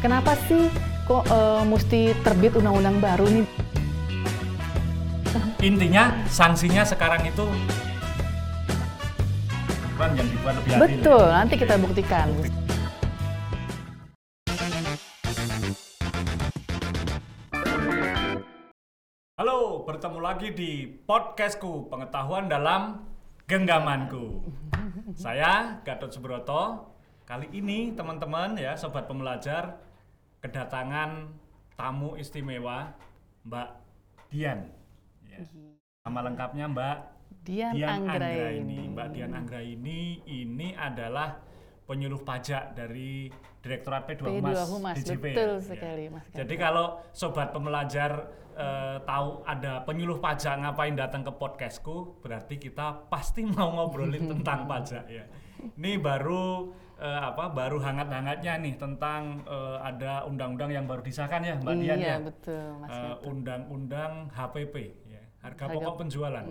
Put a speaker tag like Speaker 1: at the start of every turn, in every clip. Speaker 1: Kenapa sih kok eh, mesti terbit undang-undang baru nih?
Speaker 2: Intinya sanksinya sekarang itu Aturan yang dibuat lebih adil.
Speaker 1: Betul, nanti kita buktikan.
Speaker 2: Halo, bertemu lagi di podcastku Pengetahuan dalam Genggamanku. Saya Gatot Subroto. Kali ini teman-teman ya sobat pembelajar kedatangan tamu istimewa Mbak Dian. Ya. Nama lengkapnya Mbak
Speaker 1: Dian,
Speaker 2: Dian
Speaker 1: Anggraini.
Speaker 2: Anggraini. Mbak Dian Anggraini ini adalah penyuluh pajak dari Direktorat P2
Speaker 1: P2
Speaker 2: Humas,
Speaker 1: Humas,
Speaker 2: DJP.
Speaker 1: betul
Speaker 2: Ya.
Speaker 1: sekali, Mas
Speaker 2: Jadi kalau sobat pembelajar eh, tahu ada penyuluh pajak ngapain datang ke podcastku, berarti kita pasti mau ngobrolin tentang pajak ya. Ini baru eh, apa? Baru hangat-hangatnya nih tentang eh, ada undang-undang yang baru disahkan ya, Mbak Dian
Speaker 1: Iya,
Speaker 2: ya.
Speaker 1: betul, Mas.
Speaker 2: Eh,
Speaker 1: Gatot.
Speaker 2: undang-undang HPP ya. Harga,
Speaker 1: Harga-
Speaker 2: pokok penjualan.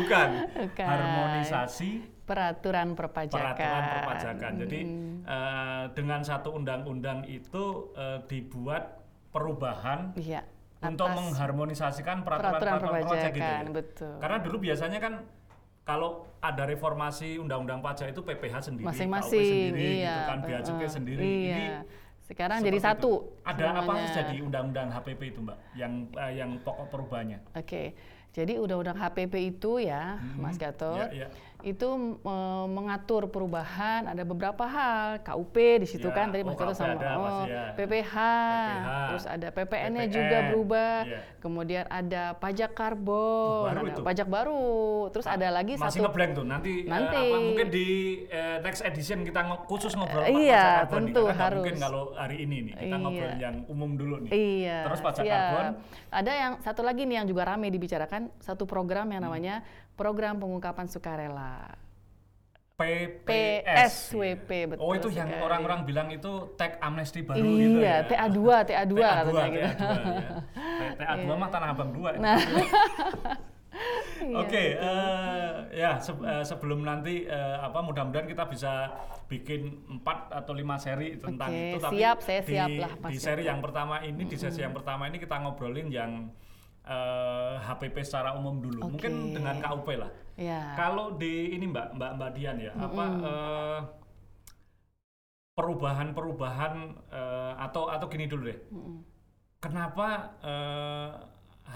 Speaker 2: Bukan.
Speaker 1: Bukan.
Speaker 2: Harmonisasi
Speaker 1: Peraturan perpajakan. Hmm,
Speaker 2: peraturan perpajakan. Jadi eh, dengan satu undang-undang itu eh, dibuat perubahan
Speaker 1: Iya.
Speaker 2: untuk
Speaker 1: atas
Speaker 2: mengharmonisasikan
Speaker 1: peraturan
Speaker 2: peraturan-peraturan
Speaker 1: perpajakan,
Speaker 2: perpajakan gitu ya.
Speaker 1: betul.
Speaker 2: Karena dulu biasanya kan kalau ada reformasi undang-undang pajak itu PPH sendiri, KUP
Speaker 1: masing-masing,
Speaker 2: sendiri
Speaker 1: iya.
Speaker 2: gitu kan,
Speaker 1: Pak.
Speaker 2: bea cukai
Speaker 1: Eh,
Speaker 2: sendiri.
Speaker 1: Iya.
Speaker 2: Ini
Speaker 1: Sekarang jadi
Speaker 2: seperti itu.
Speaker 1: satu.
Speaker 2: Ada apa
Speaker 1: semuanya.
Speaker 2: jadi undang-undang HPP itu, Mbak? Yang eh, yang pokok perubahannya.
Speaker 1: Oke, jadi undang-undang HPP itu ya, Mas Gatot,
Speaker 2: Ya, ya.
Speaker 1: itu eh, mengatur perubahan ada beberapa hal, KUP di situ
Speaker 2: Ya,
Speaker 1: kan tadi
Speaker 2: oh,
Speaker 1: Mas Gatot
Speaker 2: KUP
Speaker 1: sama
Speaker 2: ada pasti ya.
Speaker 1: PPH,
Speaker 2: PPH,
Speaker 1: terus ada PPN-nya juga
Speaker 2: PPN,
Speaker 1: berubah,
Speaker 2: iya.
Speaker 1: kemudian ada pajak karbon,
Speaker 2: Tuh, Oh, baru
Speaker 1: ada
Speaker 2: itu. Ah,
Speaker 1: pajak baru, terus ada lagi
Speaker 2: Masih
Speaker 1: satu
Speaker 2: ngeblank tuh. Nanti, eh,
Speaker 1: Nanti.
Speaker 2: apa, mungkin di eh, next edition kita ngo- khusus
Speaker 1: Eh,
Speaker 2: ngobrol pajak
Speaker 1: iya,
Speaker 2: karbon nih,
Speaker 1: tentu,
Speaker 2: karena nggak Mungkin
Speaker 1: harus.
Speaker 2: kalau hari ini nih kita
Speaker 1: Iya.
Speaker 2: ngobrol yang umum dulu nih.
Speaker 1: Iya.
Speaker 2: Terus pajak
Speaker 1: siap.
Speaker 2: karbon.
Speaker 1: Ada yang satu lagi nih yang juga ramai dibicarakan, satu program
Speaker 2: Hmm.
Speaker 1: yang namanya program pengungkapan sukarela.
Speaker 2: PPS.
Speaker 1: PSWP,
Speaker 2: Oh,
Speaker 1: betul
Speaker 2: itu yang
Speaker 1: sekali.
Speaker 2: orang-orang bilang itu tag amnesti baru gitu ya.
Speaker 1: iya, TA2, TA2
Speaker 2: TA2,
Speaker 1: katanya gitu. Nah.
Speaker 2: TA2 ya. TA2 mah Tanah Abang 2.
Speaker 1: Iya.
Speaker 2: Oke, eh, ya se- eh, sebelum nanti eh, apa mudah-mudahan kita bisa bikin 4 atau 5 seri tentang
Speaker 1: Oke,
Speaker 2: itu tapi
Speaker 1: siap, saya
Speaker 2: di,
Speaker 1: siap lah, Mas
Speaker 2: di seri yang pertama ini di sesi yang pertama ini kita ngobrolin yang eh, HPP secara umum dulu. Mungkin
Speaker 1: Oke.
Speaker 2: dengan KUP lah.
Speaker 1: Iya.
Speaker 2: Kalau di ini Mbak Mbak Mbak Dian ya, apa eh, perubahan-perubahan eh, atau atau gini dulu deh. Kenapa eh,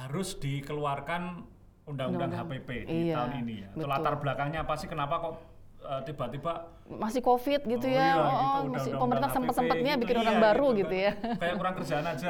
Speaker 2: harus dikeluarkan undang-undang HPP di
Speaker 1: Iya,
Speaker 2: tahun ini ya? Itu
Speaker 1: betul.
Speaker 2: Latar belakangnya apa sih kenapa kok eh, tiba-tiba
Speaker 1: Masih Covid gitu
Speaker 2: Oh
Speaker 1: ya.
Speaker 2: iya,
Speaker 1: oh, oh,
Speaker 2: gitu, udah
Speaker 1: masih
Speaker 2: undang-undang
Speaker 1: pemerintah
Speaker 2: HPP
Speaker 1: sempet-sempetnya
Speaker 2: gitu,
Speaker 1: bikin
Speaker 2: iya,
Speaker 1: orang baru gitu, ya. Iya.
Speaker 2: kayak- Kayak kurang kerjaan aja.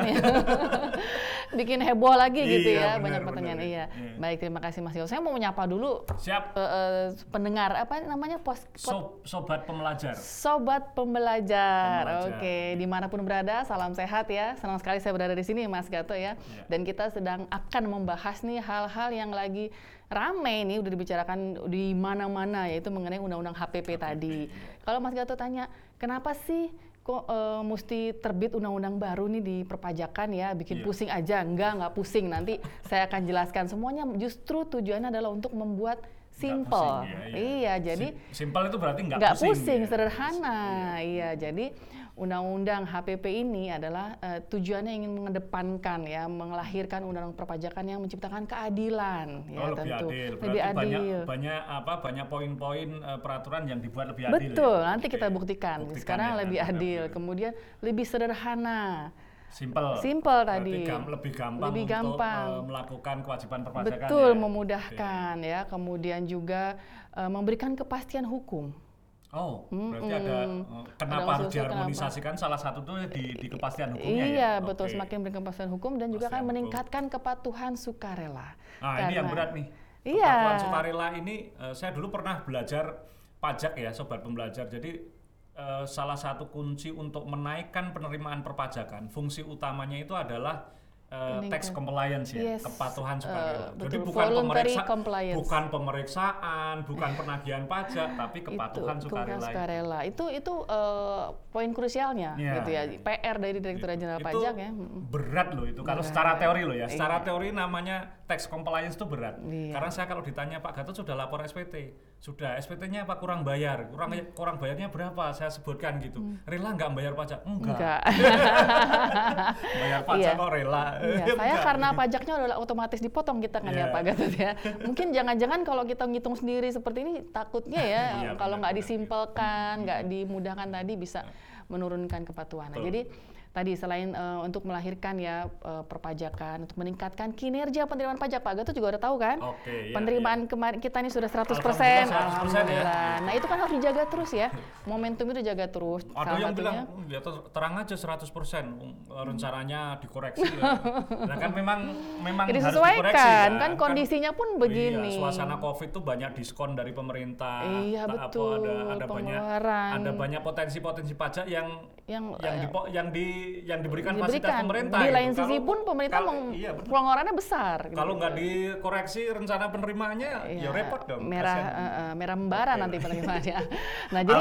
Speaker 1: bikin heboh lagi gitu
Speaker 2: Iya,
Speaker 1: ya,
Speaker 2: benar,
Speaker 1: banyak
Speaker 2: benar,
Speaker 1: pertanyaan.
Speaker 2: iya.
Speaker 1: Iya.
Speaker 2: Iya.
Speaker 1: Baik, terima kasih Mas Yo. Saya mau menyapa dulu
Speaker 2: Siap
Speaker 1: eh, eh, pendengar apa namanya? Pos, pod-
Speaker 2: sob- sobat pembelajar.
Speaker 1: Sobat pembelajar,
Speaker 2: Pembelajar.
Speaker 1: oke, dimanapun berada, salam sehat ya. Senang sekali saya berada di sini, Mas Gato ya.
Speaker 2: Iya.
Speaker 1: Dan kita sedang akan membahas nih hal-hal yang lagi ramai nih, udah dibicarakan di mana-mana, yaitu mengenai undang-undang HPP tadi.
Speaker 2: ya.
Speaker 1: Kalau Mas Gato tanya, kenapa sih kok eh, mesti terbit undang-undang baru nih di perpajakan ya, bikin
Speaker 2: Iya.
Speaker 1: pusing aja? Enggak, enggak pusing. Nanti saya akan jelaskan semuanya. Justru tujuannya adalah untuk membuat
Speaker 2: Nggak
Speaker 1: simple.
Speaker 2: pusing, ya,
Speaker 1: Iya, jadi
Speaker 2: Sim- simple itu berarti nggak
Speaker 1: nggak
Speaker 2: pusing.
Speaker 1: pusing,
Speaker 2: ya.
Speaker 1: sederhana. Iya, jadi undang-undang HPP ini adalah eh, tujuannya ingin mengedepankan ya, melahirkan undang-undang perpajakan yang menciptakan keadilan ya
Speaker 2: Oh, lebih
Speaker 1: tentu.
Speaker 2: adil. ya. Berarti
Speaker 1: Lebih adil.
Speaker 2: banyak banyak apa banyak poin-poin eh, peraturan yang dibuat lebih adil.
Speaker 1: Betul,
Speaker 2: ya?
Speaker 1: nanti
Speaker 2: Oke.
Speaker 1: kita buktikan.
Speaker 2: Buktikan
Speaker 1: Sekarang
Speaker 2: ya,
Speaker 1: lebih
Speaker 2: nanti
Speaker 1: adil,
Speaker 2: kita-
Speaker 1: kemudian lebih sederhana.
Speaker 2: Simple.
Speaker 1: Simple
Speaker 2: Berarti
Speaker 1: tadi.
Speaker 2: gam- lebih gampang
Speaker 1: Lebih
Speaker 2: untuk
Speaker 1: gampang.
Speaker 2: eh, melakukan kewajiban perpajakan.
Speaker 1: Betul,
Speaker 2: ya?
Speaker 1: memudahkan ya. Kemudian juga eh, memberikan kepastian hukum.
Speaker 2: Oh, berarti ada eh, kenapa
Speaker 1: Ada unsur-unsur
Speaker 2: harus diharmonisasikan salah satu tuh di, di kepastian hukumnya ya?
Speaker 1: Iya, betul.
Speaker 2: Oke.
Speaker 1: Semakin beri kepastian hukum dan juga
Speaker 2: Kepastian
Speaker 1: akan
Speaker 2: hukum.
Speaker 1: meningkatkan kepatuhan sukarela.
Speaker 2: Nah, ini yang
Speaker 1: Karena-
Speaker 2: berat nih.
Speaker 1: Iya.
Speaker 2: Kepatuhan sukarela ini eh, saya dulu pernah belajar pajak ya, sobat pembelajar. Jadi eh, salah satu kunci untuk menaikkan penerimaan perpajakan, fungsi utamanya itu adalah eh,
Speaker 1: Peningkat-
Speaker 2: tax compliance ya,
Speaker 1: Yes,
Speaker 2: kepatuhan sukarela.
Speaker 1: eh,
Speaker 2: Jadi
Speaker 1: betul.
Speaker 2: bukan
Speaker 1: Voluntary
Speaker 2: pemeriksa-
Speaker 1: compliance.
Speaker 2: bukan pemeriksaan, bukan penagihan pajak, tapi kepatuhan
Speaker 1: itu,
Speaker 2: sukarela.
Speaker 1: kepatuhan
Speaker 2: itu.
Speaker 1: sukarela. Itu itu eh, poin krusialnya
Speaker 2: Iya.
Speaker 1: gitu ya. PR dari Direktorat Jenderal
Speaker 2: Itu
Speaker 1: Pajak ya. Mm.
Speaker 2: berat loh itu kalau
Speaker 1: Berat.
Speaker 2: secara teori loh ya secara
Speaker 1: Iya.
Speaker 2: teori namanya tax compliance itu berat
Speaker 1: Iya.
Speaker 2: karena saya kalau ditanya Pak Gatot sudah lapor SPT sudah SPT-nya apa kurang bayar kurang
Speaker 1: Hmm.
Speaker 2: kurang bayarnya berapa saya sebutkan gitu rela nggak bayar pajak enggak,
Speaker 1: Enggak.
Speaker 2: bayar pajak
Speaker 1: Iya.
Speaker 2: kok rela
Speaker 1: Iya, saya
Speaker 2: Enggak.
Speaker 1: karena pajaknya adalah otomatis dipotong kita kan
Speaker 2: Iya.
Speaker 1: ya Pak Gatot ya. Mungkin jangan-jangan kalau kita ngitung sendiri seperti ini takutnya ya
Speaker 2: Iya,
Speaker 1: kalau nggak
Speaker 2: benar-benar.
Speaker 1: disimpelkan, nggak dimudahkan tadi bisa menurunkan kepatuhan. Nah,
Speaker 2: Betul.
Speaker 1: jadi tadi selain eh, untuk melahirkan ya eh, perpajakan, untuk meningkatkan kinerja penerimaan pajak Pak Gatot juga udah tahu kan?
Speaker 2: oke iya,
Speaker 1: penerimaan kemarin kita ini sudah 100%.
Speaker 2: Alhamdulillah, 100% ya.
Speaker 1: Alhamdulillah. Nah, itu kan harus dijaga terus ya. Momentum itu dijaga terus.
Speaker 2: iya. ada
Speaker 1: Salah
Speaker 2: yang
Speaker 1: satunya- Hmm.
Speaker 2: bilang "Hmm, ya ter- terang aja 100% um, rencananya dikoreksi lah. Nah, kan memang memang
Speaker 1: Jadi
Speaker 2: harus
Speaker 1: disesuaikan
Speaker 2: dikoreksi ya,
Speaker 1: kan, kondisinya pun begini.
Speaker 2: Iya, suasana Covid tuh banyak diskon dari pemerintah.
Speaker 1: Iya,
Speaker 2: tak
Speaker 1: betul,
Speaker 2: Apa, ada ada banyak
Speaker 1: pengeluaran.
Speaker 2: ada banyak potensi-potensi pajak yang
Speaker 1: Yang,
Speaker 2: yang
Speaker 1: eh,
Speaker 2: di yang di yang diberikan, fasilitas
Speaker 1: diberikan.
Speaker 2: pemerintah.
Speaker 1: Di
Speaker 2: gitu.
Speaker 1: lain sisi
Speaker 2: Kalau-
Speaker 1: pun pemerintah
Speaker 2: kalau-
Speaker 1: meng
Speaker 2: iya, betul.
Speaker 1: pengeluarannya besar. gitu.
Speaker 2: Kalau nggak dikoreksi rencana penerimaannya ya,
Speaker 1: Iya,
Speaker 2: repot dong.
Speaker 1: Merah
Speaker 2: kasihan.
Speaker 1: eh, eh, merah membara
Speaker 2: Oke.
Speaker 1: nanti penerimaannya. Nah, jadi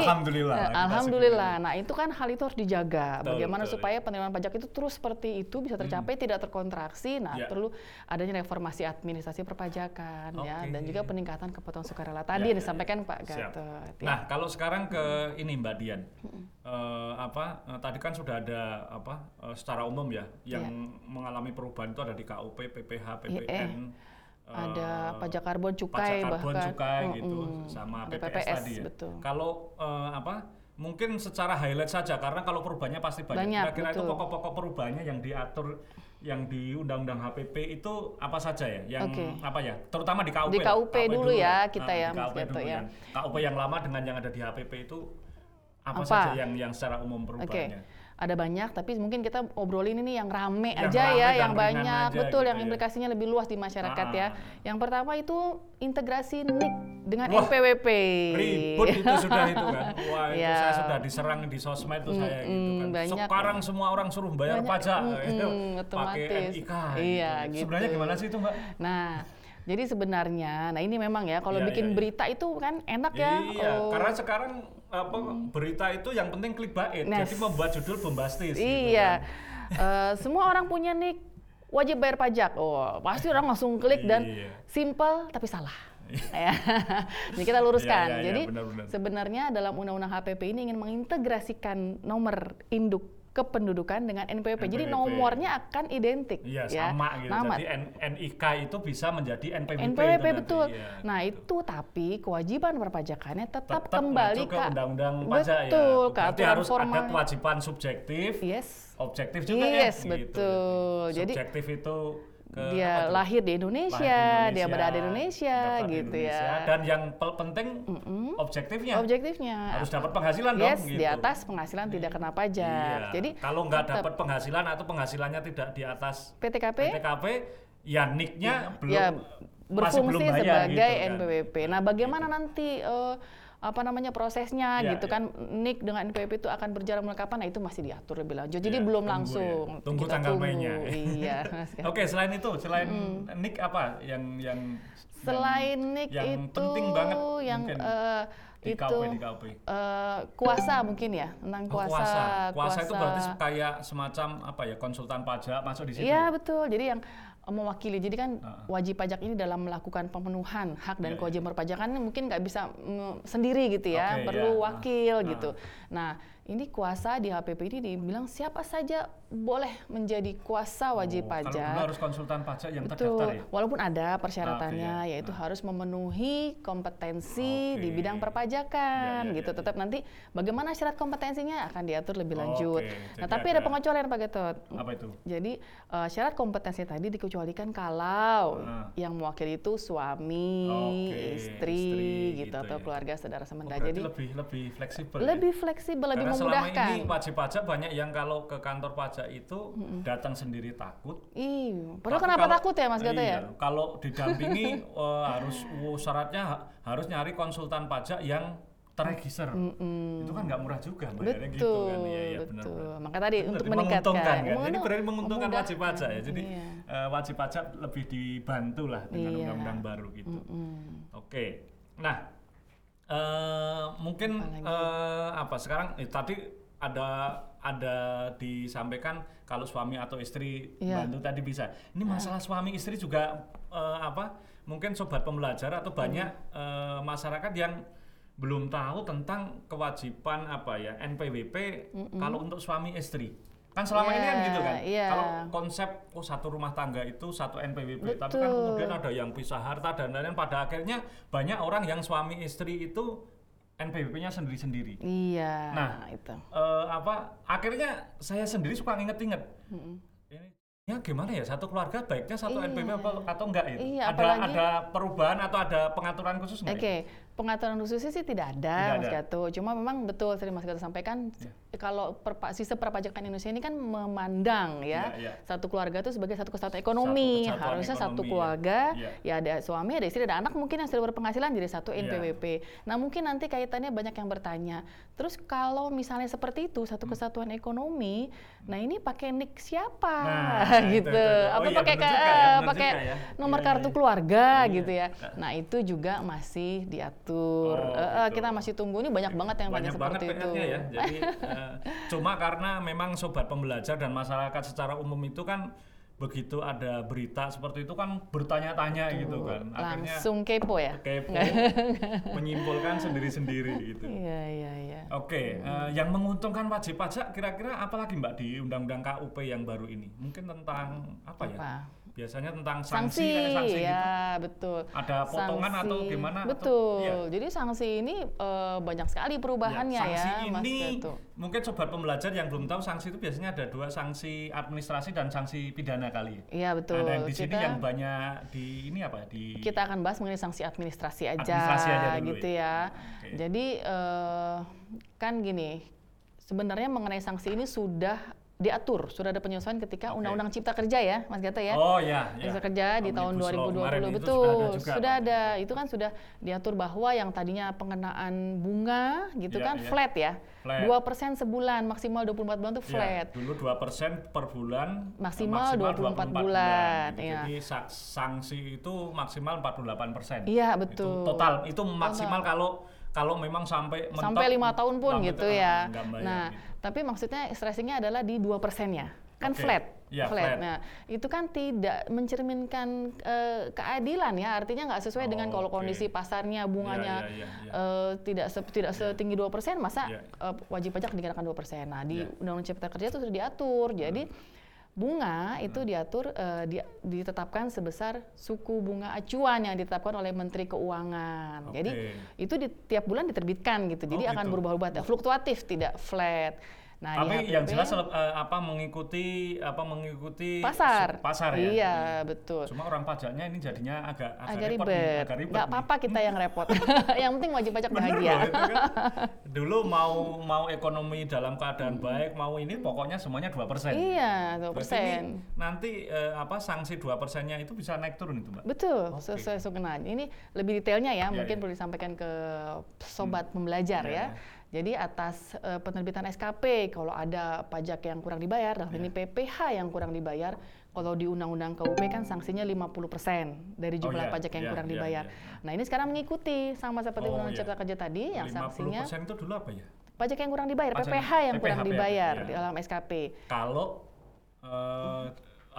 Speaker 1: eh,
Speaker 2: Alhamdulillah, kita syukuri.
Speaker 1: alhamdulillah. Nah, itu kan hal itu harus dijaga.
Speaker 2: Betul,
Speaker 1: Bagaimana
Speaker 2: betul. Hmm.
Speaker 1: supaya penerimaan pajak itu terus seperti itu bisa tercapai tidak terkontraksi. Nah,
Speaker 2: Ya.
Speaker 1: perlu adanya reformasi administrasi perpajakan ya
Speaker 2: Oke.
Speaker 1: dan juga peningkatan kepatuhan sukarela tadi yang
Speaker 2: Ya, ya,
Speaker 1: disampaikan Pak
Speaker 2: Siap.
Speaker 1: Gatot. ya.
Speaker 2: Nah, kalau sekarang ke ini Mbak Dian. Eh, apa eh, tadi kan sudah ada apa eh, secara umum ya yang
Speaker 1: Iya.
Speaker 2: mengalami perubahan itu ada di KUP, PPH, PPN. eh,
Speaker 1: ada pajak karbon
Speaker 2: pajak
Speaker 1: cukai
Speaker 2: karbon
Speaker 1: bahkan
Speaker 2: cukai
Speaker 1: Mm-mm.
Speaker 2: gitu sama
Speaker 1: Ada
Speaker 2: PPS, tadi ya.
Speaker 1: betul.
Speaker 2: Kalau eh, apa mungkin secara highlight saja karena kalau perubahannya pasti banyak.
Speaker 1: Banyak,
Speaker 2: Kira-kira itu
Speaker 1: betul.
Speaker 2: pokok-pokok perubahannya yang diatur yang di Undang-Undang HPP itu apa saja ya? Yang
Speaker 1: Oke.
Speaker 2: apa ya? Terutama di KUP.
Speaker 1: Di
Speaker 2: lah, Ah,
Speaker 1: KUP dulu ya, kita ya,
Speaker 2: di
Speaker 1: Mas
Speaker 2: KUP
Speaker 1: Gatot
Speaker 2: dulu
Speaker 1: ya.
Speaker 2: yang- KUP yang lama dengan yang ada di HPP itu apa,
Speaker 1: Apa?
Speaker 2: saja yang yang secara umum
Speaker 1: Oke.
Speaker 2: perubahannya?
Speaker 1: Ada banyak, tapi mungkin kita obrolin ini yang rame
Speaker 2: Yang
Speaker 1: aja ya,
Speaker 2: rame dan
Speaker 1: yang
Speaker 2: ringan
Speaker 1: banyak,
Speaker 2: aja
Speaker 1: betul,
Speaker 2: gitu
Speaker 1: yang
Speaker 2: ya.
Speaker 1: implikasinya lebih luas di masyarakat
Speaker 2: Ah,
Speaker 1: ya.
Speaker 2: ah, ah.
Speaker 1: Yang pertama itu integrasi NIK dengan
Speaker 2: Wah,
Speaker 1: NPWP.
Speaker 2: Ribut itu
Speaker 1: Iya.
Speaker 2: sudah itu kan. Wah, itu
Speaker 1: Ya.
Speaker 2: saya sudah diserang di sosmed itu saya gitu kan.
Speaker 1: Mm, banyak.
Speaker 2: Sekarang semua orang suruh bayar
Speaker 1: Banyak,
Speaker 2: pajak
Speaker 1: mm,
Speaker 2: gitu.
Speaker 1: mm,
Speaker 2: pakai
Speaker 1: otomatis.
Speaker 2: NIK.
Speaker 1: Iya, gitu.
Speaker 2: kan. Sebenarnya gimana sih itu, Mbak?
Speaker 1: Nah, jadi sebenarnya, nah ini memang ya, kalau
Speaker 2: Iya,
Speaker 1: bikin
Speaker 2: iya, iya.
Speaker 1: berita itu kan enak ya.
Speaker 2: Iya,
Speaker 1: oh.
Speaker 2: karena sekarang apa berita itu yang penting clickbait.
Speaker 1: Nes.
Speaker 2: Jadi membuat judul bombastis
Speaker 1: Nah.
Speaker 2: gitu
Speaker 1: Iya.
Speaker 2: kan.
Speaker 1: Eh, semua orang punya nik wajib bayar pajak. Oh, pasti orang langsung klik dan
Speaker 2: Iya.
Speaker 1: simple tapi salah. ya. Jadi kita luruskan.
Speaker 2: Iya, iya, iya,
Speaker 1: Jadi
Speaker 2: benar-benar.
Speaker 1: sebenarnya dalam Undang-Undang HPP ini ingin mengintegrasikan nomor induk kependudukan dengan NPWP. Jadi
Speaker 2: NPWP.
Speaker 1: nomornya akan identik.
Speaker 2: Iya,
Speaker 1: ya.
Speaker 2: sama gitu.
Speaker 1: Nama.
Speaker 2: Jadi N- NIK itu bisa menjadi NPWP, itu
Speaker 1: NPWP
Speaker 2: nanti,
Speaker 1: betul.
Speaker 2: iya.
Speaker 1: Nah itu tapi kewajiban perpajakannya tetap,
Speaker 2: Tetap
Speaker 1: kembali
Speaker 2: mengacu ke undang-undang pajak ya.
Speaker 1: betul ke
Speaker 2: Berarti
Speaker 1: aturan
Speaker 2: harus ada
Speaker 1: formal.
Speaker 2: kewajiban subjektif,
Speaker 1: Yes.
Speaker 2: objektif juga ya.
Speaker 1: Yes, betul. Jadi-
Speaker 2: subjektif itu ke apa
Speaker 1: dia
Speaker 2: tuh?
Speaker 1: lahir di
Speaker 2: Lahir
Speaker 1: Indonesia,
Speaker 2: di
Speaker 1: dia berada di Indonesia,
Speaker 2: daftar di
Speaker 1: gitu
Speaker 2: Indonesia.
Speaker 1: ya.
Speaker 2: Dan yang pel- penting objektifnya
Speaker 1: Objektifnya.
Speaker 2: harus dapat penghasilan
Speaker 1: yes,
Speaker 2: dong gitu.
Speaker 1: di atas penghasilan tidak kena pajak.
Speaker 2: Iya.
Speaker 1: Jadi
Speaker 2: kalau nggak
Speaker 1: tetap
Speaker 2: dapat penghasilan atau penghasilannya tidak di atas
Speaker 1: PTKP
Speaker 2: PTKP, ya niknya belum
Speaker 1: ya
Speaker 2: masih belum
Speaker 1: berfungsi
Speaker 2: bayar
Speaker 1: sebagai
Speaker 2: gitu kan.
Speaker 1: NPWP. Nah, bagaimana nanti eh, apa namanya prosesnya
Speaker 2: Ya,
Speaker 1: gitu
Speaker 2: ya.
Speaker 1: kan NIK dengan NPWP itu akan berjalan mulai kapan? Nah, itu masih diatur lebih lanjut. Jadi
Speaker 2: Ya,
Speaker 1: belum
Speaker 2: tunggu ya.
Speaker 1: langsung.
Speaker 2: Tunggu
Speaker 1: Kita
Speaker 2: tanggal
Speaker 1: tunggu.
Speaker 2: mainnya.
Speaker 1: Iya. Mas.
Speaker 2: Oke, selain itu, selain nik apa yang yang
Speaker 1: Mm. Selain
Speaker 2: yang-
Speaker 1: NIK
Speaker 2: yang
Speaker 1: itu
Speaker 2: penting banget
Speaker 1: yang
Speaker 2: mungkin
Speaker 1: eh,
Speaker 2: di
Speaker 1: itu
Speaker 2: KUP di KUP.
Speaker 1: eh, kuasa mungkin ya tentang
Speaker 2: Oh,
Speaker 1: kuasa
Speaker 2: kuasa. Kuasa itu berarti kayak semacam apa ya konsultan pajak masuk di situ. ya?
Speaker 1: iya betul jadi yang mewakili jadi kan
Speaker 2: Ah.
Speaker 1: wajib pajak ini dalam melakukan pemenuhan hak
Speaker 2: Iya,
Speaker 1: dan
Speaker 2: iya.
Speaker 1: kewajiban perpajakan mungkin nggak bisa mm, sendiri gitu ya
Speaker 2: Oke,
Speaker 1: perlu
Speaker 2: iya. Ah,
Speaker 1: wakil
Speaker 2: ah.
Speaker 1: gitu nah ini kuasa di HPP ini dibilang siapa saja boleh menjadi kuasa wajib
Speaker 2: Oh, Kalau
Speaker 1: pajak
Speaker 2: dulu harus konsultan pajak yang
Speaker 1: Betul.
Speaker 2: terdaftar ya.
Speaker 1: Walaupun ada persyaratannya,
Speaker 2: Ah, oke, ya.
Speaker 1: yaitu harus memenuhi kompetensi
Speaker 2: Oke.
Speaker 1: di bidang perpajakan,
Speaker 2: Ya, ya,
Speaker 1: gitu.
Speaker 2: ya, ya.
Speaker 1: Tetap nanti bagaimana syarat kompetensinya akan diatur lebih
Speaker 2: Oke,
Speaker 1: lanjut.
Speaker 2: jadi
Speaker 1: Nah, tapi ada
Speaker 2: ada-
Speaker 1: pengecualian Pak Gatot.
Speaker 2: Apa itu?
Speaker 1: Jadi eh, syarat kompetensi tadi dikecualikan kalau
Speaker 2: Ah.
Speaker 1: yang mewakili itu suami,
Speaker 2: Oke,
Speaker 1: istri,
Speaker 2: istri,
Speaker 1: gitu,
Speaker 2: gitu
Speaker 1: atau
Speaker 2: ya.
Speaker 1: keluarga saudara semenda.
Speaker 2: Oh, berarti
Speaker 1: Jadi
Speaker 2: lebih lebih fleksibel. ya?
Speaker 1: lebih fleksibel, lebih
Speaker 2: Karena
Speaker 1: memudahkan.
Speaker 2: selama ini wajib pajak banyak yang kalau ke kantor pajak itu datang sendiri takut.
Speaker 1: Iya. Padahal
Speaker 2: Tapi
Speaker 1: kenapa
Speaker 2: kalau-
Speaker 1: takut ya Mas Gatot
Speaker 2: iya,
Speaker 1: ya?
Speaker 2: Kalau didampingi eh, harus oh, syaratnya ha- harus nyari konsultan pajak yang terregister.
Speaker 1: Hmm.
Speaker 2: Itu kan nggak murah juga
Speaker 1: Betul,
Speaker 2: bayarnya gitu kan. Iya, iya, benar,
Speaker 1: betul.
Speaker 2: benar.
Speaker 1: Maka tadi
Speaker 2: Benar,
Speaker 1: untuk
Speaker 2: jadi
Speaker 1: meningkatkan,
Speaker 2: menguntungkan kan. Jadi
Speaker 1: Menguntung-
Speaker 2: berarti menguntungkan wajib
Speaker 1: memudahkan.
Speaker 2: pajak ya. Jadi
Speaker 1: Iya.
Speaker 2: eh, wajib pajak lebih dibantu lah dengan
Speaker 1: Iya.
Speaker 2: undang-undang baru gitu.
Speaker 1: Mm.
Speaker 2: Oke. Nah, eh mungkin
Speaker 1: Apalagi?
Speaker 2: eh apa sekarang eh, tadi ada ada disampaikan kalau suami atau istri
Speaker 1: Iya.
Speaker 2: bantu tadi bisa. Ini masalah suami istri juga eh, apa? Mungkin sobat pembelajar atau banyak
Speaker 1: Iya.
Speaker 2: eh, masyarakat yang belum tahu tentang kewajiban apa ya NPWP kalau untuk suami istri. Kan selama ini kan
Speaker 1: Iya,
Speaker 2: gitu kan.
Speaker 1: iya.
Speaker 2: Kalau konsep oh satu rumah tangga itu satu NPWP, tapi kan
Speaker 1: Betul.
Speaker 2: kemudian ada yang pisah harta dan lain-lain pada akhirnya banyak orang yang suami istri itu NPWP-nya sendiri-sendiri.
Speaker 1: Iya.
Speaker 2: Nah.
Speaker 1: itu.
Speaker 2: Eh, apa akhirnya saya sendiri suka nginget-inget
Speaker 1: Mm-mm.
Speaker 2: ini ya gimana ya satu keluarga baiknya satu
Speaker 1: Iya.
Speaker 2: NPWP apa, atau enggak itu
Speaker 1: Iya,
Speaker 2: ada
Speaker 1: apalagi-
Speaker 2: ada perubahan atau ada pengaturan
Speaker 1: Oke,
Speaker 2: khusus enggak ya?
Speaker 1: pengaturan khususnya sih tidak ada,
Speaker 2: Tidak
Speaker 1: Mas
Speaker 2: ada. Iya.
Speaker 1: Gatot. Cuma memang betul tadi Mas Gatot sampaikan kalau perpa, sistem perpajakan Indonesia ini kan memandang ya
Speaker 2: Iya, iya.
Speaker 1: satu keluarga itu sebagai satu kesatuan ekonomi.
Speaker 2: kesatuan
Speaker 1: Harusnya satu
Speaker 2: ekonomi,
Speaker 1: keluarga
Speaker 2: iya.
Speaker 1: ya ada suami, ada istri, ada anak mungkin yang sudah berpenghasilan jadi satu
Speaker 2: Iya.
Speaker 1: NPWP. Nah, mungkin nanti kaitannya banyak yang bertanya. Terus kalau misalnya seperti itu satu
Speaker 2: Hmm.
Speaker 1: kesatuan ekonomi, nah ini pakai nick siapa?
Speaker 2: Nah,
Speaker 1: gitu.
Speaker 2: itu, itu, itu. Oh
Speaker 1: Apa
Speaker 2: iya,
Speaker 1: pakai
Speaker 2: bener
Speaker 1: ka-
Speaker 2: juga ya, bener
Speaker 1: pakai
Speaker 2: juga ya.
Speaker 1: nomor
Speaker 2: Iya, iya,
Speaker 1: kartu
Speaker 2: iya.
Speaker 1: keluarga
Speaker 2: Iya.
Speaker 1: gitu ya. Nah itu juga masih diatur.
Speaker 2: Oh,
Speaker 1: Eh, eh,
Speaker 2: gitu.
Speaker 1: kita masih tunggu ini banyak banget yang
Speaker 2: banyak
Speaker 1: tanya
Speaker 2: banget
Speaker 1: seperti itu.
Speaker 2: PR-nya ya jadi eh, cuma karena memang sobat pembelajar dan masyarakat secara umum itu kan begitu ada berita seperti itu kan bertanya-tanya gitu kan akhirnya
Speaker 1: Langsung kepo ya.
Speaker 2: kepo menyimpulkan sendiri-sendiri gitu
Speaker 1: Iya iya iya.
Speaker 2: Oke, eh, yang menguntungkan wajib pajak kira-kira apa lagi Mbak di Undang-Undang KUP yang baru ini? Mungkin tentang apa ya?
Speaker 1: Apa?
Speaker 2: Biasanya tentang sanksi,
Speaker 1: Sanksi,
Speaker 2: kayak sanksi gitu.
Speaker 1: ya betul.
Speaker 2: Ada potongan atau
Speaker 1: Sanksi.
Speaker 2: gimana? atau-
Speaker 1: Betul.
Speaker 2: Iya.
Speaker 1: Jadi sanksi ini eh, banyak sekali
Speaker 2: Ya,
Speaker 1: perubahannya ya,
Speaker 2: sanksi
Speaker 1: Mas
Speaker 2: ini
Speaker 1: Gatot.
Speaker 2: mungkin sobat pembelajar yang belum tahu sanksi itu biasanya ada dua sanksi administrasi dan sanksi pidana kali. ya?
Speaker 1: Iya betul.
Speaker 2: Ada yang di sini
Speaker 1: Kita-
Speaker 2: yang banyak di ini apa di
Speaker 1: kita akan bahas mengenai sanksi administrasi aja,
Speaker 2: Hmm. Administrasi aja dulu
Speaker 1: gitu
Speaker 2: ya.
Speaker 1: ya.
Speaker 2: Oke.
Speaker 1: Jadi eh, kan gini, sebenarnya mengenai sanksi ini sudah diatur, sudah ada penyesuaian ketika
Speaker 2: Oke.
Speaker 1: Undang-Undang Cipta Kerja ya, Mas Gata ya.
Speaker 2: Oh ya, ya.
Speaker 1: Cipta Kerja di tahun
Speaker 2: Omnibus
Speaker 1: 2020
Speaker 2: Law kemarin itu
Speaker 1: betul,
Speaker 2: Sudah ada juga.
Speaker 1: sudah
Speaker 2: Pak. Iya,
Speaker 1: ada. Itu kan sudah diatur bahwa yang tadinya pengenaan bunga gitu
Speaker 2: Iya,
Speaker 1: kan
Speaker 2: iya.
Speaker 1: flat ya.
Speaker 2: Flat.
Speaker 1: 2% sebulan, maksimal 24 bulan itu
Speaker 2: Ya,
Speaker 1: flat.
Speaker 2: dulu 2% per bulan
Speaker 1: Maksimal 24 bulan,
Speaker 2: gitu.
Speaker 1: ya.
Speaker 2: Jadi sak- sanksi itu maksimal 48%.
Speaker 1: Iya,
Speaker 2: Itu
Speaker 1: betul.
Speaker 2: total itu maksimal kalau kalau memang sampai mentok,
Speaker 1: sampai lima tahun pun
Speaker 2: sampai
Speaker 1: gitu
Speaker 2: ke-
Speaker 1: ya.
Speaker 2: nggak bayar
Speaker 1: Nah,
Speaker 2: gitu.
Speaker 1: tapi maksudnya stressingnya adalah di dua persennya, kan
Speaker 2: Oke.
Speaker 1: flat.
Speaker 2: Iya, flat.
Speaker 1: Nah, itu kan tidak mencerminkan eh, keadilan ya. Artinya nggak sesuai dengan
Speaker 2: Oh,
Speaker 1: kalau
Speaker 2: oke.
Speaker 1: kondisi pasarnya bunganya
Speaker 2: Iya, iya, iya,
Speaker 1: eh, tidak se- tidak
Speaker 2: Ya.
Speaker 1: setinggi dua persen, masa
Speaker 2: Iya.
Speaker 1: eh, wajib pajak dikenakan dua persen. Nah, di
Speaker 2: Iya.
Speaker 1: Undang-Undang Cipta Kerja itu sudah diatur. Jadi
Speaker 2: Hmm.
Speaker 1: bunga itu diatur eh, di- ditetapkan sebesar suku bunga acuan yang ditetapkan oleh Menteri Keuangan. Jadi
Speaker 2: Oke.
Speaker 1: itu di tiap bulan diterbitkan gitu.
Speaker 2: Oh,
Speaker 1: Jadi akan
Speaker 2: gitu.
Speaker 1: berubah-ubah, tidak fluktuatif, tidak flat. Nah, di
Speaker 2: tapi
Speaker 1: HPP
Speaker 2: yang jelas eh, apa mengikuti apa mengikuti
Speaker 1: pasar.
Speaker 2: su- pasar ya.
Speaker 1: Iya, betul.
Speaker 2: Cuma orang pajaknya ini jadinya agak agak,
Speaker 1: Agak
Speaker 2: repot nih,
Speaker 1: ribet.
Speaker 2: agak ribet
Speaker 1: Nggak
Speaker 2: nih.
Speaker 1: apa-apa kita yang repot. yang penting wajib pajak
Speaker 2: Bener
Speaker 1: bahagia.
Speaker 2: loh, itu kan. Dulu mau mau ekonomi dalam keadaan baik, mau ini pokoknya semuanya 2%.
Speaker 1: Iya, 2%.
Speaker 2: Berarti ini nanti eh, apa sanksi 2 persennya itu bisa naik turun itu, Mbak?
Speaker 1: Betul,
Speaker 2: Oke.
Speaker 1: sesuai sukenan. Ini lebih detailnya ya,
Speaker 2: Ya,
Speaker 1: mungkin
Speaker 2: ya.
Speaker 1: perlu disampaikan ke sobat pembelajar
Speaker 2: Ya,
Speaker 1: ya.
Speaker 2: ya.
Speaker 1: Jadi atas eh, penerbitan SKP, kalau ada pajak yang kurang dibayar, dalam
Speaker 2: Ya.
Speaker 1: ini PPh yang kurang dibayar, kalau di Undang-Undang KUP kan sanksinya 50% dari
Speaker 2: Oh,
Speaker 1: jumlah
Speaker 2: ya,
Speaker 1: pajak yang
Speaker 2: ya,
Speaker 1: kurang
Speaker 2: ya,
Speaker 1: dibayar.
Speaker 2: ya.
Speaker 1: Nah ini sekarang mengikuti, sama seperti
Speaker 2: Oh,
Speaker 1: Undang-Undang
Speaker 2: ya.
Speaker 1: Cipta Kerja tadi, yang Iya, sanksinya
Speaker 2: 50% itu dulu apa ya?
Speaker 1: pajak yang kurang dibayar,
Speaker 2: Pajak-
Speaker 1: PPh yang
Speaker 2: PPh,
Speaker 1: kurang
Speaker 2: ya,
Speaker 1: dibayar
Speaker 2: ya.
Speaker 1: di dalam SKP.
Speaker 2: Kalau eh,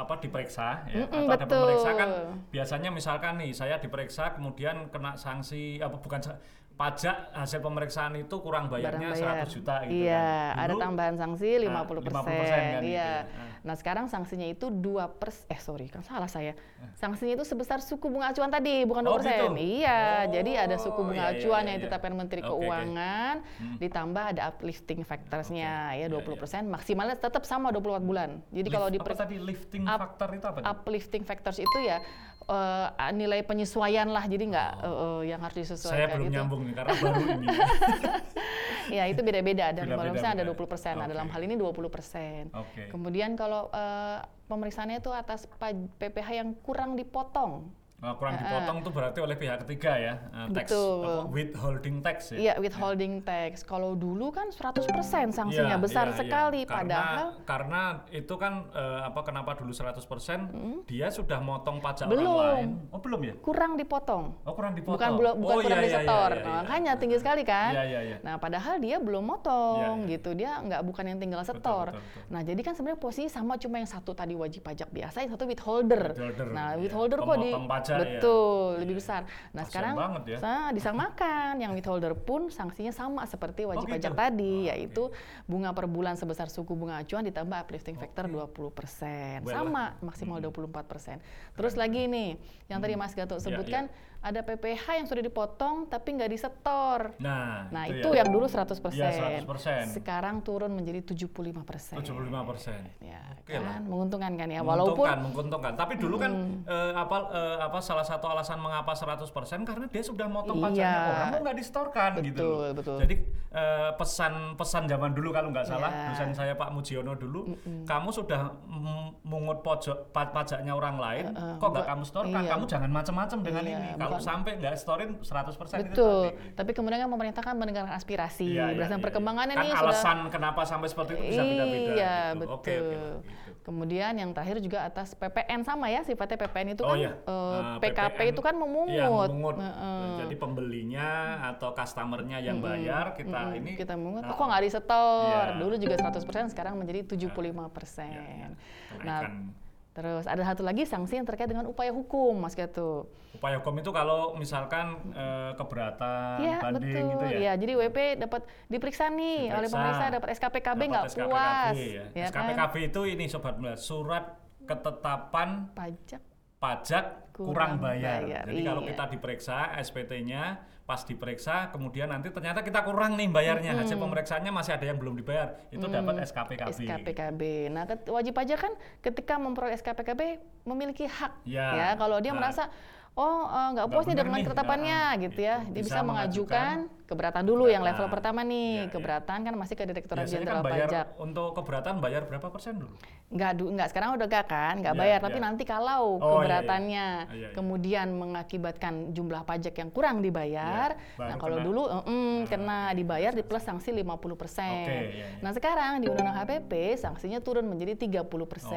Speaker 2: apa diperiksa ya,
Speaker 1: Mm-mm,
Speaker 2: atau ada pemeriksa kan
Speaker 1: betul.
Speaker 2: biasanya misalkan nih saya diperiksa kemudian kena sanksi apa bukan sa- pajak hasil pemeriksaan itu kurang bayarnya 100 juta gitu
Speaker 1: iya,
Speaker 2: kan.
Speaker 1: ada
Speaker 2: Dulu
Speaker 1: tambahan sanksi 50%.
Speaker 2: nah, 50% kan gitu
Speaker 1: iya.
Speaker 2: ya.
Speaker 1: Nah, sekarang sanksinya itu 2 pers eh sorry, kan salah saya. Sanksinya itu sebesar suku bunga acuan tadi, bukan 2%.
Speaker 2: Ah. Oh, gitu?
Speaker 1: Iya, jadi ada suku
Speaker 2: Oh,
Speaker 1: bunga
Speaker 2: iya, iya,
Speaker 1: acuan
Speaker 2: iya,
Speaker 1: yang
Speaker 2: iya.
Speaker 1: ditetapkan Menteri
Speaker 2: Oke, oke.
Speaker 1: Keuangan ditambah ada uplifting factors-nya
Speaker 2: Oke, iya,
Speaker 1: ya 20%, maksimalnya tetap sama 24 bulan. Jadi
Speaker 2: Lift-
Speaker 1: kalau
Speaker 2: apa
Speaker 1: diperiksa
Speaker 2: tadi lifting
Speaker 1: up-
Speaker 2: factor itu apa? tuh?
Speaker 1: uplifting factors itu ya eh, nilai penyesuaian lah jadi nggak eh, eh, yang harus disesuaikan gitu
Speaker 2: Oh.
Speaker 1: ya.
Speaker 2: Saya belum
Speaker 1: itu.
Speaker 2: nyambung nih karena baru ini.
Speaker 1: ya itu beda-beda ada
Speaker 2: Beda-beda,
Speaker 1: 50% ada
Speaker 2: beda.
Speaker 1: 20% nah dalam
Speaker 2: Oke.
Speaker 1: hal ini 20%
Speaker 2: Oke.
Speaker 1: kemudian kalau eh, pemeriksaannya itu atas paj- PPh yang kurang dipotong
Speaker 2: Nah, kurang dipotong itu berarti oleh pihak ketiga ya, eh, tax
Speaker 1: Betul.
Speaker 2: apa, withholding tax ya.
Speaker 1: Iya, withholding tax. Kalau dulu kan 100% sanksinya
Speaker 2: Iya,
Speaker 1: besar
Speaker 2: iya, iya.
Speaker 1: sekali
Speaker 2: Karena-
Speaker 1: padahal
Speaker 2: karena itu kan eh, apa kenapa dulu 100% dia sudah motong pajak
Speaker 1: Belum.
Speaker 2: orang lain. Oh, belum ya?
Speaker 1: kurang dipotong.
Speaker 2: Oh, kurang dipotong.
Speaker 1: Bukan bukan
Speaker 2: oh,
Speaker 1: bukan
Speaker 2: iya,
Speaker 1: kurang
Speaker 2: iya, iya,
Speaker 1: disetor. Nah,
Speaker 2: iya, iya.
Speaker 1: makanya tinggi sekali kan?
Speaker 2: Iya, iya, iya.
Speaker 1: Nah, padahal dia belum motong
Speaker 2: Iya, iya.
Speaker 1: gitu. Dia nggak bukan yang tinggal setor.
Speaker 2: betul, betul.
Speaker 1: Nah, jadi kan sebenarnya posisi sama cuma yang satu tadi wajib pajak biasa, yang satu withholder.
Speaker 2: Withholder,
Speaker 1: Nah,
Speaker 2: iya.
Speaker 1: withholder kok di
Speaker 2: Pemotong pajak, iya.
Speaker 1: betul, lebih besar. Nah,
Speaker 2: Kasian
Speaker 1: sekarang
Speaker 2: banget ya.
Speaker 1: sa- disamakan. Yang withholder pun sanksinya sama seperti wajib
Speaker 2: gitu?
Speaker 1: pajak tadi,
Speaker 2: Ah,
Speaker 1: yaitu bunga per bulan sebesar suku bunga acuan ditambah uplifting factor 20%.
Speaker 2: Well.
Speaker 1: Sama maksimal 24%. Terus lagi nih, yang tadi Mas Gatot
Speaker 2: Iya,
Speaker 1: sebutkan ada PPH yang sudah dipotong tapi nggak disetor.
Speaker 2: Nah,
Speaker 1: Nah, itu, yang dulu 100%.
Speaker 2: Iya, 100%.
Speaker 1: Sekarang turun menjadi 75%.
Speaker 2: 75%.
Speaker 1: Ya,
Speaker 2: Oke lah.
Speaker 1: kan menguntungkan kan ya
Speaker 2: Menguntungkan,
Speaker 1: walaupun Hmm.
Speaker 2: menguntungkan. Tapi dulu kan eh, apa eh, apa salah satu alasan mengapa 100% karena dia sudah motong
Speaker 1: Iya.
Speaker 2: pajaknya orang mau nggak distorkan gitu.
Speaker 1: Betul,
Speaker 2: loh.
Speaker 1: betul.
Speaker 2: Jadi eh, pesan-pesan zaman dulu kalau nggak salah
Speaker 1: Iya.
Speaker 2: dosen saya Pak Mujiono dulu, kamu sudah m- mungut pojok pa- pajaknya orang lain, kok nggak kamu storkan?
Speaker 1: iya.
Speaker 2: Kamu jangan macam-macam dengan
Speaker 1: Iya,
Speaker 2: ini. Kalau
Speaker 1: bukan-
Speaker 2: sampai nggak storin 100% itu
Speaker 1: betul.
Speaker 2: tadi.
Speaker 1: Tapi kemudian kan pemerintah kan mendengarkan aspirasi
Speaker 2: Iya, iya,
Speaker 1: berdasarkan
Speaker 2: iya, iya.
Speaker 1: perkembangannya
Speaker 2: kan
Speaker 1: nih
Speaker 2: alasan kenapa sampai seperti itu bisa beda-beda
Speaker 1: Iya,
Speaker 2: gitu.
Speaker 1: betul.
Speaker 2: Oke, oke, oke.
Speaker 1: Kemudian yang terakhir juga atas PPN sama ya sifatnya PPN itu
Speaker 2: Oh,
Speaker 1: kan
Speaker 2: iya.
Speaker 1: eh,
Speaker 2: Ah,
Speaker 1: PKP
Speaker 2: PPN,
Speaker 1: itu kan memungut.
Speaker 2: Iya, memungut.
Speaker 1: Heeh.
Speaker 2: Jadi pembelinya atau customernya yang bayar kita
Speaker 1: Mm-mm,
Speaker 2: ini
Speaker 1: kita mengut,
Speaker 2: nah,
Speaker 1: kok nggak disetor?
Speaker 2: Iya.
Speaker 1: Dulu juga 100%, sekarang menjadi 75%.
Speaker 2: Iya, iya.
Speaker 1: Nah,
Speaker 2: Kenaikan.
Speaker 1: terus ada satu lagi sanksi yang terkait dengan upaya hukum, Mas Gatot.
Speaker 2: upaya hukum itu kalau misalkan eh, keberatan
Speaker 1: Iya,
Speaker 2: banding
Speaker 1: betul.
Speaker 2: gitu ya.
Speaker 1: Iya, jadi WP dapat diperiksa nih oleh
Speaker 2: Diperiksa.
Speaker 1: pemeriksa dapat SKPKB
Speaker 2: Dapat
Speaker 1: nggak
Speaker 2: SKPKB
Speaker 1: puas.
Speaker 2: ya.
Speaker 1: ya kan?
Speaker 2: SKPKB itu ini sobat Mela, surat ketetapan
Speaker 1: Pajak
Speaker 2: pajak
Speaker 1: Kurang
Speaker 2: kurang, bayar.
Speaker 1: bayar,
Speaker 2: Jadi kalau
Speaker 1: iya.
Speaker 2: kita diperiksa SPT-nya pas diperiksa kemudian nanti ternyata kita kurang nih bayarnya hasil pemeriksaannya masih ada yang belum dibayar itu dapat SKPKB.
Speaker 1: SKPKB. Nah, ket- wajib pajak kan ketika memperoleh SKPKB memiliki hak.
Speaker 2: Ya.
Speaker 1: Ya, kalau dia
Speaker 2: Nah.
Speaker 1: merasa oh eh, nggak
Speaker 2: Nggak
Speaker 1: puas nih
Speaker 2: bener
Speaker 1: dengan
Speaker 2: nih,
Speaker 1: ketetapannya
Speaker 2: ya,
Speaker 1: gitu ya,
Speaker 2: gitu.
Speaker 1: dia bisa,
Speaker 2: Bisa
Speaker 1: mengajukan
Speaker 2: mengajukan
Speaker 1: keberatan dulu yang level
Speaker 2: keberatan.
Speaker 1: pertama nih.
Speaker 2: Ya, ya.
Speaker 1: keberatan kan masih ke Direktorat
Speaker 2: Biasanya
Speaker 1: Jenderal
Speaker 2: kan bayar
Speaker 1: Pajak.
Speaker 2: untuk keberatan bayar berapa persen dulu?
Speaker 1: Nggak, du- nggak sekarang udah nggak kan, nggak
Speaker 2: Ya,
Speaker 1: bayar.
Speaker 2: ya.
Speaker 1: Tapi nanti kalau
Speaker 2: iya, iya.
Speaker 1: keberatannya
Speaker 2: Ah, iya, iya.
Speaker 1: kemudian mengakibatkan jumlah pajak yang kurang dibayar,
Speaker 2: Ya,
Speaker 1: nah
Speaker 2: baru
Speaker 1: kalau
Speaker 2: kena. iya,
Speaker 1: dulu eh, mm, kena dibayar di plus sanksi 50%.
Speaker 2: Oke, iya, iya.
Speaker 1: Nah sekarang di Undang-Undang HPP sanksinya turun menjadi 30%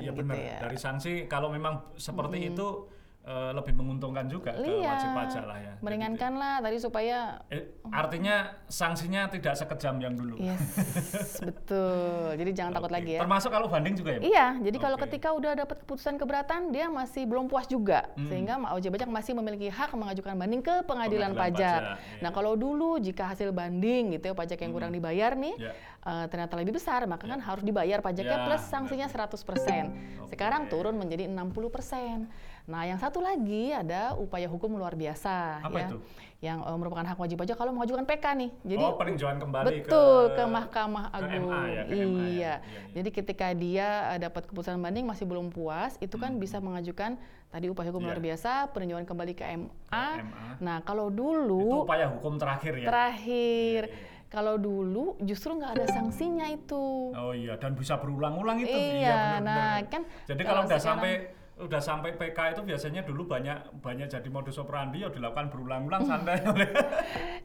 Speaker 2: Iya
Speaker 1: gitu
Speaker 2: benar.
Speaker 1: ya. Hmm.
Speaker 2: Dari sanksi kalau memang seperti itu eh, lebih menguntungkan juga ke
Speaker 1: Iya,
Speaker 2: eh, wajib pajak lah ya. Jadi,
Speaker 1: meringankan lah tadi supaya
Speaker 2: eh, artinya sanksinya tidak sekejam yang dulu.
Speaker 1: yes betul. Jadi jangan Iya, takut
Speaker 2: Oke.
Speaker 1: lagi ya.
Speaker 2: Termasuk kalau banding juga ya. Bu?
Speaker 1: Iya, jadi kalau
Speaker 2: Oke.
Speaker 1: ketika udah dapat keputusan keberatan, dia masih belum puas juga,
Speaker 2: Hmm.
Speaker 1: sehingga OJ pajak masih memiliki hak mengajukan banding ke pengadilan,
Speaker 2: Pengadilan
Speaker 1: pajak.
Speaker 2: pajak,
Speaker 1: Nah,
Speaker 2: iya.
Speaker 1: kalau dulu jika hasil banding gitu ya pajak yang kurang dibayar nih
Speaker 2: Iya.
Speaker 1: eh, ternyata lebih besar, maka kan harus dibayar pajaknya
Speaker 2: Ya,
Speaker 1: plus sanksinya 100%. Sekarang
Speaker 2: Oke.
Speaker 1: turun menjadi 60%. Nah, yang satu lagi ada upaya hukum luar biasa
Speaker 2: Apa
Speaker 1: ya.
Speaker 2: itu?
Speaker 1: Yang eh, merupakan hak wajib pajak kalau mengajukan PK nih. Jadi
Speaker 2: oh, peninjauan kembali ke-
Speaker 1: Betul, ke, Mahkamah
Speaker 2: ke
Speaker 1: Agung.
Speaker 2: MA ya, ke
Speaker 1: iya.
Speaker 2: MA ya. Iya, iya.
Speaker 1: Jadi ketika dia eh, dapat keputusan banding masih belum puas, itu kan bisa mengajukan tadi upaya hukum
Speaker 2: Hmm. Iya.
Speaker 1: luar biasa, peninjauan kembali ke MA.
Speaker 2: MA.
Speaker 1: Nah, kalau
Speaker 2: itu
Speaker 1: dulu
Speaker 2: upaya iya, hukum terakhir ya.
Speaker 1: terakhir kalau dulu justru nggak ada sanksinya itu.
Speaker 2: Oh gitu? iya, dan bisa berulang-ulang itu.
Speaker 1: Iya, nah, kan
Speaker 2: Jadi
Speaker 1: kalau
Speaker 2: kalau udah
Speaker 1: sekarang-
Speaker 2: sampai udah sampai PK itu biasanya dulu banyak banyak jadi modus operandi ya dilakukan
Speaker 1: Iya.
Speaker 2: berulang-ulang santai oleh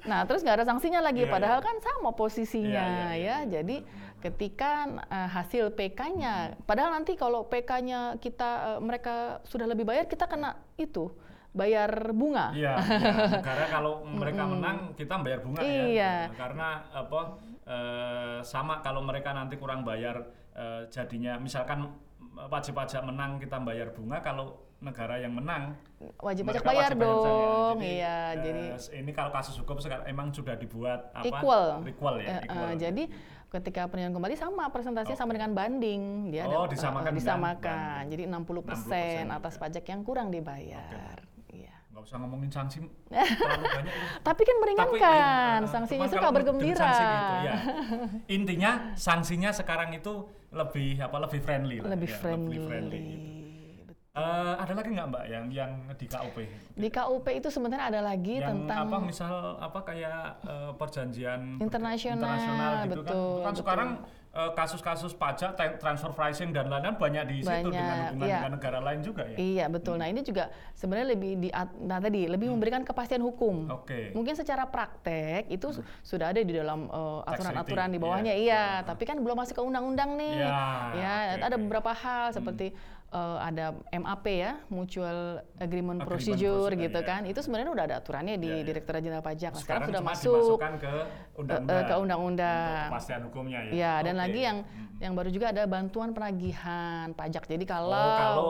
Speaker 1: Nah, terus nggak ada sanksinya lagi,
Speaker 2: Iya,
Speaker 1: padahal kan sama posisinya
Speaker 2: Iya, iya,
Speaker 1: ya. Jadi ketika eh, hasil
Speaker 2: Hmm.
Speaker 1: PK-nya, padahal nanti kalau PK-nya kita eh, mereka sudah lebih bayar, kita kena itu bayar bunga.
Speaker 2: Iya, iya. Karena kalau mereka menang kita bayar bunga
Speaker 1: Iya.
Speaker 2: ya. Karena apa eh, sama kalau mereka nanti kurang bayar eh, jadinya misalkan wajib pajak menang kita bayar bunga kalau negara yang menang
Speaker 1: Wajib pajak
Speaker 2: mereka
Speaker 1: bayar
Speaker 2: wajib pajak.
Speaker 1: dong.
Speaker 2: Jadi,
Speaker 1: iya,
Speaker 2: eh,
Speaker 1: jadi
Speaker 2: ini kalau kasus hukum sekarang emang sudah dibuat apa?
Speaker 1: equal.
Speaker 2: Equal ya.
Speaker 1: Eh, eh,
Speaker 2: equal.
Speaker 1: jadi ketika peninjauan kembali sama persentasenya sama dengan banding, dia
Speaker 2: Oh,
Speaker 1: ada-
Speaker 2: disamakan
Speaker 1: eh,
Speaker 2: dengan
Speaker 1: disamakan.
Speaker 2: banding.
Speaker 1: Jadi 60%,
Speaker 2: 60%
Speaker 1: atas
Speaker 2: juga.
Speaker 1: pajak yang kurang dibayar. Iya.
Speaker 2: nggak usah ngomongin sanksi terlalu banyak. ya.
Speaker 1: Tapi kan meringankan,
Speaker 2: Tapi, eh,
Speaker 1: sanksinya
Speaker 2: cuman
Speaker 1: itu
Speaker 2: kalau
Speaker 1: kabar
Speaker 2: dengan
Speaker 1: gembira.
Speaker 2: sanksi gitu, ya. Intinya sanksinya sekarang itu lebih apa lebih friendly. lah,
Speaker 1: lebih
Speaker 2: ya,
Speaker 1: friendly.
Speaker 2: gitu. Eh, ada lagi nggak mbak yang yang di KUP?
Speaker 1: Di KUP itu sebenarnya ada lagi
Speaker 2: yang
Speaker 1: tentang
Speaker 2: apa misal apa kayak eh, perjanjian
Speaker 1: Internasional,
Speaker 2: internasional gitu kan.
Speaker 1: betul,
Speaker 2: Itu kan
Speaker 1: betul.
Speaker 2: sekarang eh, eh, kasus-kasus pajak, tra- transfer pricing dan lain-lain banyak di situ dengan
Speaker 1: Banyak,
Speaker 2: hubungan
Speaker 1: iya.
Speaker 2: dengan negara lain juga ya.
Speaker 1: Iya betul. Nah ini juga sebenarnya lebih di nah tadi lebih memberikan kepastian hukum.
Speaker 2: Hmm. Oke. Hmm.
Speaker 1: Mungkin secara praktek itu su- sudah ada di dalam eh,
Speaker 2: Tax
Speaker 1: aturan-aturan di
Speaker 2: treaty,
Speaker 1: bawahnya, iya.
Speaker 2: iya.
Speaker 1: Tapi kan belum masuk ke undang-undang nih.
Speaker 2: Ya,
Speaker 1: Ya, ada
Speaker 2: oke, oke. Hmm.
Speaker 1: beberapa hal seperti eh, ada MAP ya, Mutual Agreement
Speaker 2: Agreement
Speaker 1: Procedure
Speaker 2: Procedure,
Speaker 1: gitu
Speaker 2: ya.
Speaker 1: kan. Itu sebenarnya udah ada aturannya di
Speaker 2: Iya, iya.
Speaker 1: Direktorat Jenderal Pajak. Nah,
Speaker 2: Sekarang
Speaker 1: sekarang sudah
Speaker 2: cuma
Speaker 1: masuk
Speaker 2: dimasukkan ke
Speaker 1: eh,
Speaker 2: undang-undang.
Speaker 1: eh, ke undang-undang.
Speaker 2: Untuk kepastian hukumnya ya.
Speaker 1: Ya, dan
Speaker 2: Oke.
Speaker 1: lagi yang yang baru juga ada bantuan penagihan pajak. Jadi kalau,
Speaker 2: Oh, kalau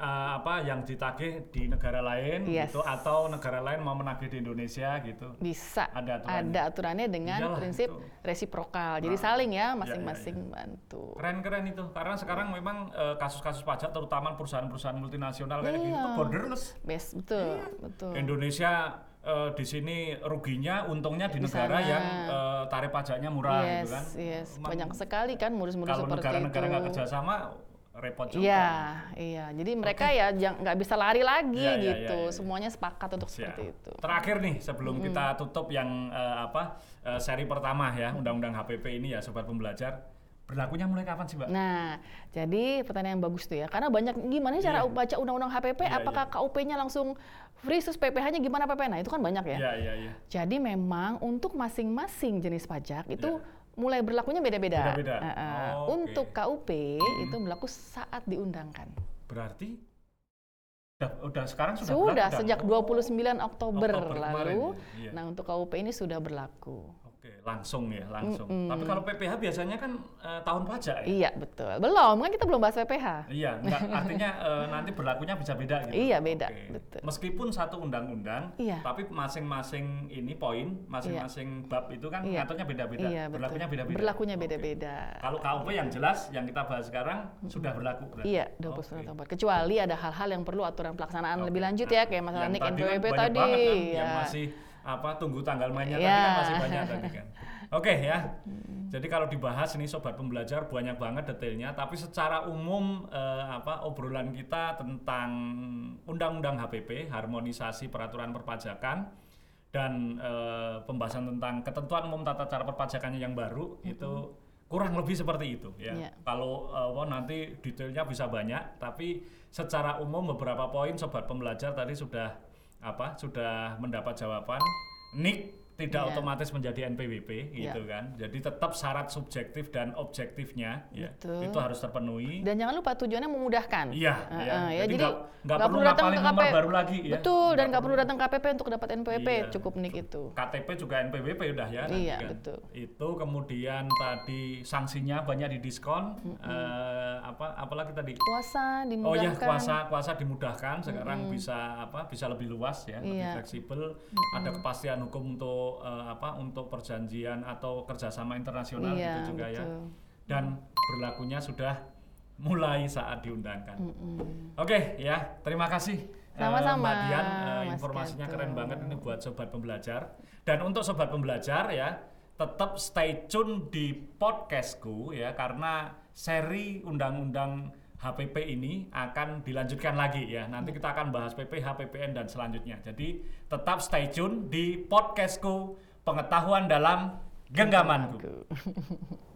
Speaker 2: eh, apa yang ditagih di negara lain
Speaker 1: Yes.
Speaker 2: gitu atau negara lain mau menagih di Indonesia gitu.
Speaker 1: bisa
Speaker 2: Ada aturannya.
Speaker 1: ada aturannya dengan
Speaker 2: Iyalah,
Speaker 1: prinsip
Speaker 2: itu.
Speaker 1: resiprokal. Jadi
Speaker 2: Nah,
Speaker 1: saling ya
Speaker 2: iya,
Speaker 1: masing-masing bantu.
Speaker 2: Keren-keren itu karena sekarang memang eh, kasus-kasus pajak terutama perusahaan-perusahaan multinasional kayak gitu
Speaker 1: Iya.
Speaker 2: itu borderless.
Speaker 1: Best betul,
Speaker 2: Iya.
Speaker 1: betul.
Speaker 2: Indonesia eh, di sini ruginya, untungnya
Speaker 1: Di
Speaker 2: di negara
Speaker 1: sana.
Speaker 2: yang eh, tarif pajaknya murah
Speaker 1: yes,
Speaker 2: gitu kan.
Speaker 1: yes.
Speaker 2: Emang
Speaker 1: Banyak sekali kan modus-modus
Speaker 2: kalau
Speaker 1: seperti
Speaker 2: negara-negara nggak
Speaker 1: itu.
Speaker 2: kerjasama repot juga.
Speaker 1: Iya, iya. Jadi mereka ya jang- nggak bisa lari lagi
Speaker 2: Iya, iya, iya,
Speaker 1: gitu.
Speaker 2: iya.
Speaker 1: Semuanya sepakat untuk
Speaker 2: Siap.
Speaker 1: seperti itu.
Speaker 2: Ya. Terakhir nih sebelum kita tutup yang eh, apa eh, seri pertama ya undang-undang HPP ini ya sobat pembelajar berlakunya mulai kapan sih mbak?
Speaker 1: Nah, jadi pertanyaan yang bagus tuh ya. Karena banyak gimana cara
Speaker 2: Iya.
Speaker 1: baca undang-undang HPP?
Speaker 2: Iya,
Speaker 1: apakah
Speaker 2: iya.
Speaker 1: KUP-nya langsung free, terus PPh-nya gimana PPh? Nah, itu kan banyak ya.
Speaker 2: Iya iya iya.
Speaker 1: Jadi memang untuk masing-masing jenis pajak itu mulai berlakunya beda-beda.
Speaker 2: Iya. Beda-beda.
Speaker 1: Eh, eh.
Speaker 2: Oh, oke. Hmm.
Speaker 1: Untuk KUP itu berlaku saat diundangkan.
Speaker 2: Berarti udah, udah sekarang sudah
Speaker 1: Sudah
Speaker 2: berlaku, Oh.
Speaker 1: sejak 29 Oktober,
Speaker 2: Oktober kemarin
Speaker 1: lalu.
Speaker 2: ya, iya.
Speaker 1: Nah, untuk KUP ini sudah berlaku.
Speaker 2: Oke langsung ya langsung. Tapi kalau PPH biasanya kan eh, tahun pajak ya.
Speaker 1: Iya, betul. Belum, kan kita belum bahas PPh.
Speaker 2: Iya, enggak, artinya eh, nanti berlakunya bisa beda gitu.
Speaker 1: Iya, beda,
Speaker 2: Oke.
Speaker 1: betul.
Speaker 2: Meskipun satu undang-undang,
Speaker 1: Iya.
Speaker 2: tapi masing-masing ini poin, masing-masing bab itu kan
Speaker 1: Iya.
Speaker 2: ngaturnya beda-beda,
Speaker 1: Iya, betul.
Speaker 2: berlakunya beda-beda.
Speaker 1: Berlakunya
Speaker 2: Oke.
Speaker 1: beda-beda.
Speaker 2: Kalau KUP yang jelas yang kita bahas sekarang sudah berlaku. berarti.
Speaker 1: Iya,
Speaker 2: Oke.
Speaker 1: 29 Oktober. Kecuali ada hal-hal yang perlu aturan pelaksanaan
Speaker 2: Oke.
Speaker 1: lebih lanjut ya, kayak
Speaker 2: Yang
Speaker 1: masalah NIK
Speaker 2: tadi kan
Speaker 1: NPWP
Speaker 2: banyak
Speaker 1: tadi.
Speaker 2: banget kan,
Speaker 1: ya.
Speaker 2: Yang masih apa tunggu tanggal mainnya tadi
Speaker 1: Iya. Hmm.
Speaker 2: kan masih banyak tadi kan. Oke ya. Jadi kalau dibahas nih sobat pembelajar banyak banget detailnya, tapi secara umum eh, apa obrolan kita tentang undang-undang HPP, harmonisasi peraturan perpajakan dan eh, pembahasan tentang ketentuan umum tata cara perpajakannya yang baru itu kurang lebih seperti itu ya.
Speaker 1: Hmm. Iya.
Speaker 2: Kalau eh, apa, nanti detailnya bisa banyak, tapi secara umum beberapa poin sobat pembelajar tadi sudah apa sudah mendapat jawaban. Nik tidak
Speaker 1: Iya.
Speaker 2: otomatis menjadi NPWP gitu kan. Jadi tetap syarat subjektif dan objektifnya ya,
Speaker 1: Betul.
Speaker 2: itu harus terpenuhi.
Speaker 1: Dan jangan lupa tujuannya memudahkan.
Speaker 2: Iya,
Speaker 1: Heeh,
Speaker 2: iya.
Speaker 1: ya.
Speaker 2: Jadi
Speaker 1: Jadi
Speaker 2: nggak- nggak
Speaker 1: nggak
Speaker 2: perlu
Speaker 1: perlu datang ke
Speaker 2: ngapalin nomor
Speaker 1: KPP
Speaker 2: baru lagi, ya.
Speaker 1: Betul,
Speaker 2: Nggak
Speaker 1: dan nggak perlu
Speaker 2: perlu.
Speaker 1: datang KPP untuk dapat NPWP,
Speaker 2: Iya.
Speaker 1: cukup nik itu.
Speaker 2: KTP juga NPWP udah ya. nanti
Speaker 1: Iya,
Speaker 2: kan.
Speaker 1: betul.
Speaker 2: Itu kemudian tadi sanksinya banyak didiskon. eh, apa apalagi tadi?
Speaker 1: Kuasa
Speaker 2: Oh
Speaker 1: dimudahkan.
Speaker 2: ya kuasa kuasa dimudahkan sekarang bisa apa bisa lebih luas ya lebih
Speaker 1: Iya.
Speaker 2: fleksibel ada kepastian hukum untuk eh, apa untuk perjanjian atau kerjasama internasional
Speaker 1: Iya,
Speaker 2: gitu juga ya
Speaker 1: betul.
Speaker 2: dan berlakunya sudah mulai saat diundangkan. Oke ya terima kasih eh,
Speaker 1: Sama-sama,
Speaker 2: Mbak Dian Eh,
Speaker 1: Mas
Speaker 2: informasinya
Speaker 1: Gatot.
Speaker 2: keren banget ini buat sobat pembelajar dan untuk sobat pembelajar ya tetap stay tune di podcastku ya karena seri undang-undang HPP ini akan dilanjutkan lagi ya nanti kita akan bahas PP, HPPN dan selanjutnya jadi tetap stay tune di podcastku pengetahuan dalam genggamanku.
Speaker 1: Aku.